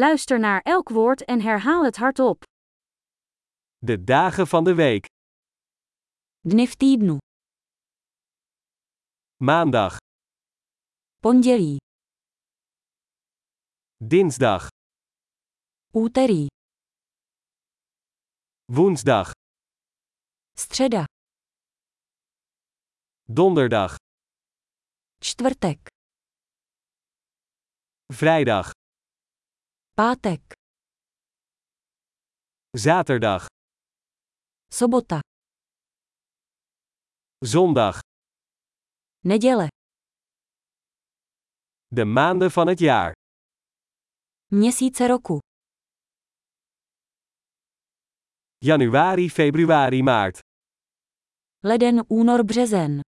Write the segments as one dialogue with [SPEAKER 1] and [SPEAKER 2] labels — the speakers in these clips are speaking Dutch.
[SPEAKER 1] Luister naar elk woord en herhaal het hardop.
[SPEAKER 2] De dagen van de week.
[SPEAKER 1] Dny v týdnu.
[SPEAKER 2] Maandag,
[SPEAKER 1] Pondělí,
[SPEAKER 2] dinsdag,
[SPEAKER 1] úterý,
[SPEAKER 2] woensdag,
[SPEAKER 1] středa,
[SPEAKER 2] donderdag,
[SPEAKER 1] čtvrtek,
[SPEAKER 2] vrijdag,
[SPEAKER 1] pátek,
[SPEAKER 2] zaterdag,
[SPEAKER 1] sobota,
[SPEAKER 2] zondag.
[SPEAKER 1] neděle,
[SPEAKER 2] De maanden van het jaar.
[SPEAKER 1] měsíce roku.
[SPEAKER 2] Januari, februari, maart.
[SPEAKER 1] Leden, únor, březen.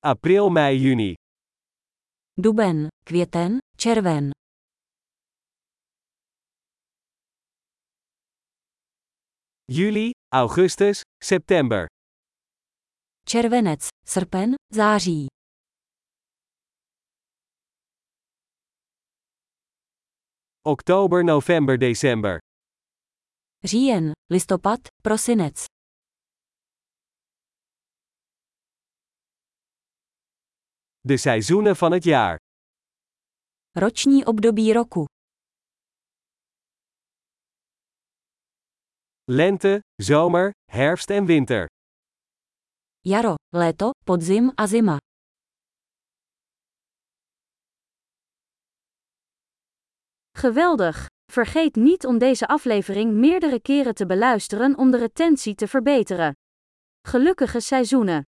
[SPEAKER 2] April, mei, juni.
[SPEAKER 1] Duben, květen, červen.
[SPEAKER 2] Juli, augustus, september.
[SPEAKER 1] Červenec, srpen, září.
[SPEAKER 2] Oktober, november, december.
[SPEAKER 1] Říjen, listopad, prosinec.
[SPEAKER 2] De seizoenen van het jaar.
[SPEAKER 1] Roční období roku.
[SPEAKER 2] Lente, zomer, herfst en winter.
[SPEAKER 1] Jaro, léto, podzim a zima. Geweldig! Vergeet niet om deze aflevering meerdere keren te beluisteren om de retentie te verbeteren. Gelukkige seizoenen!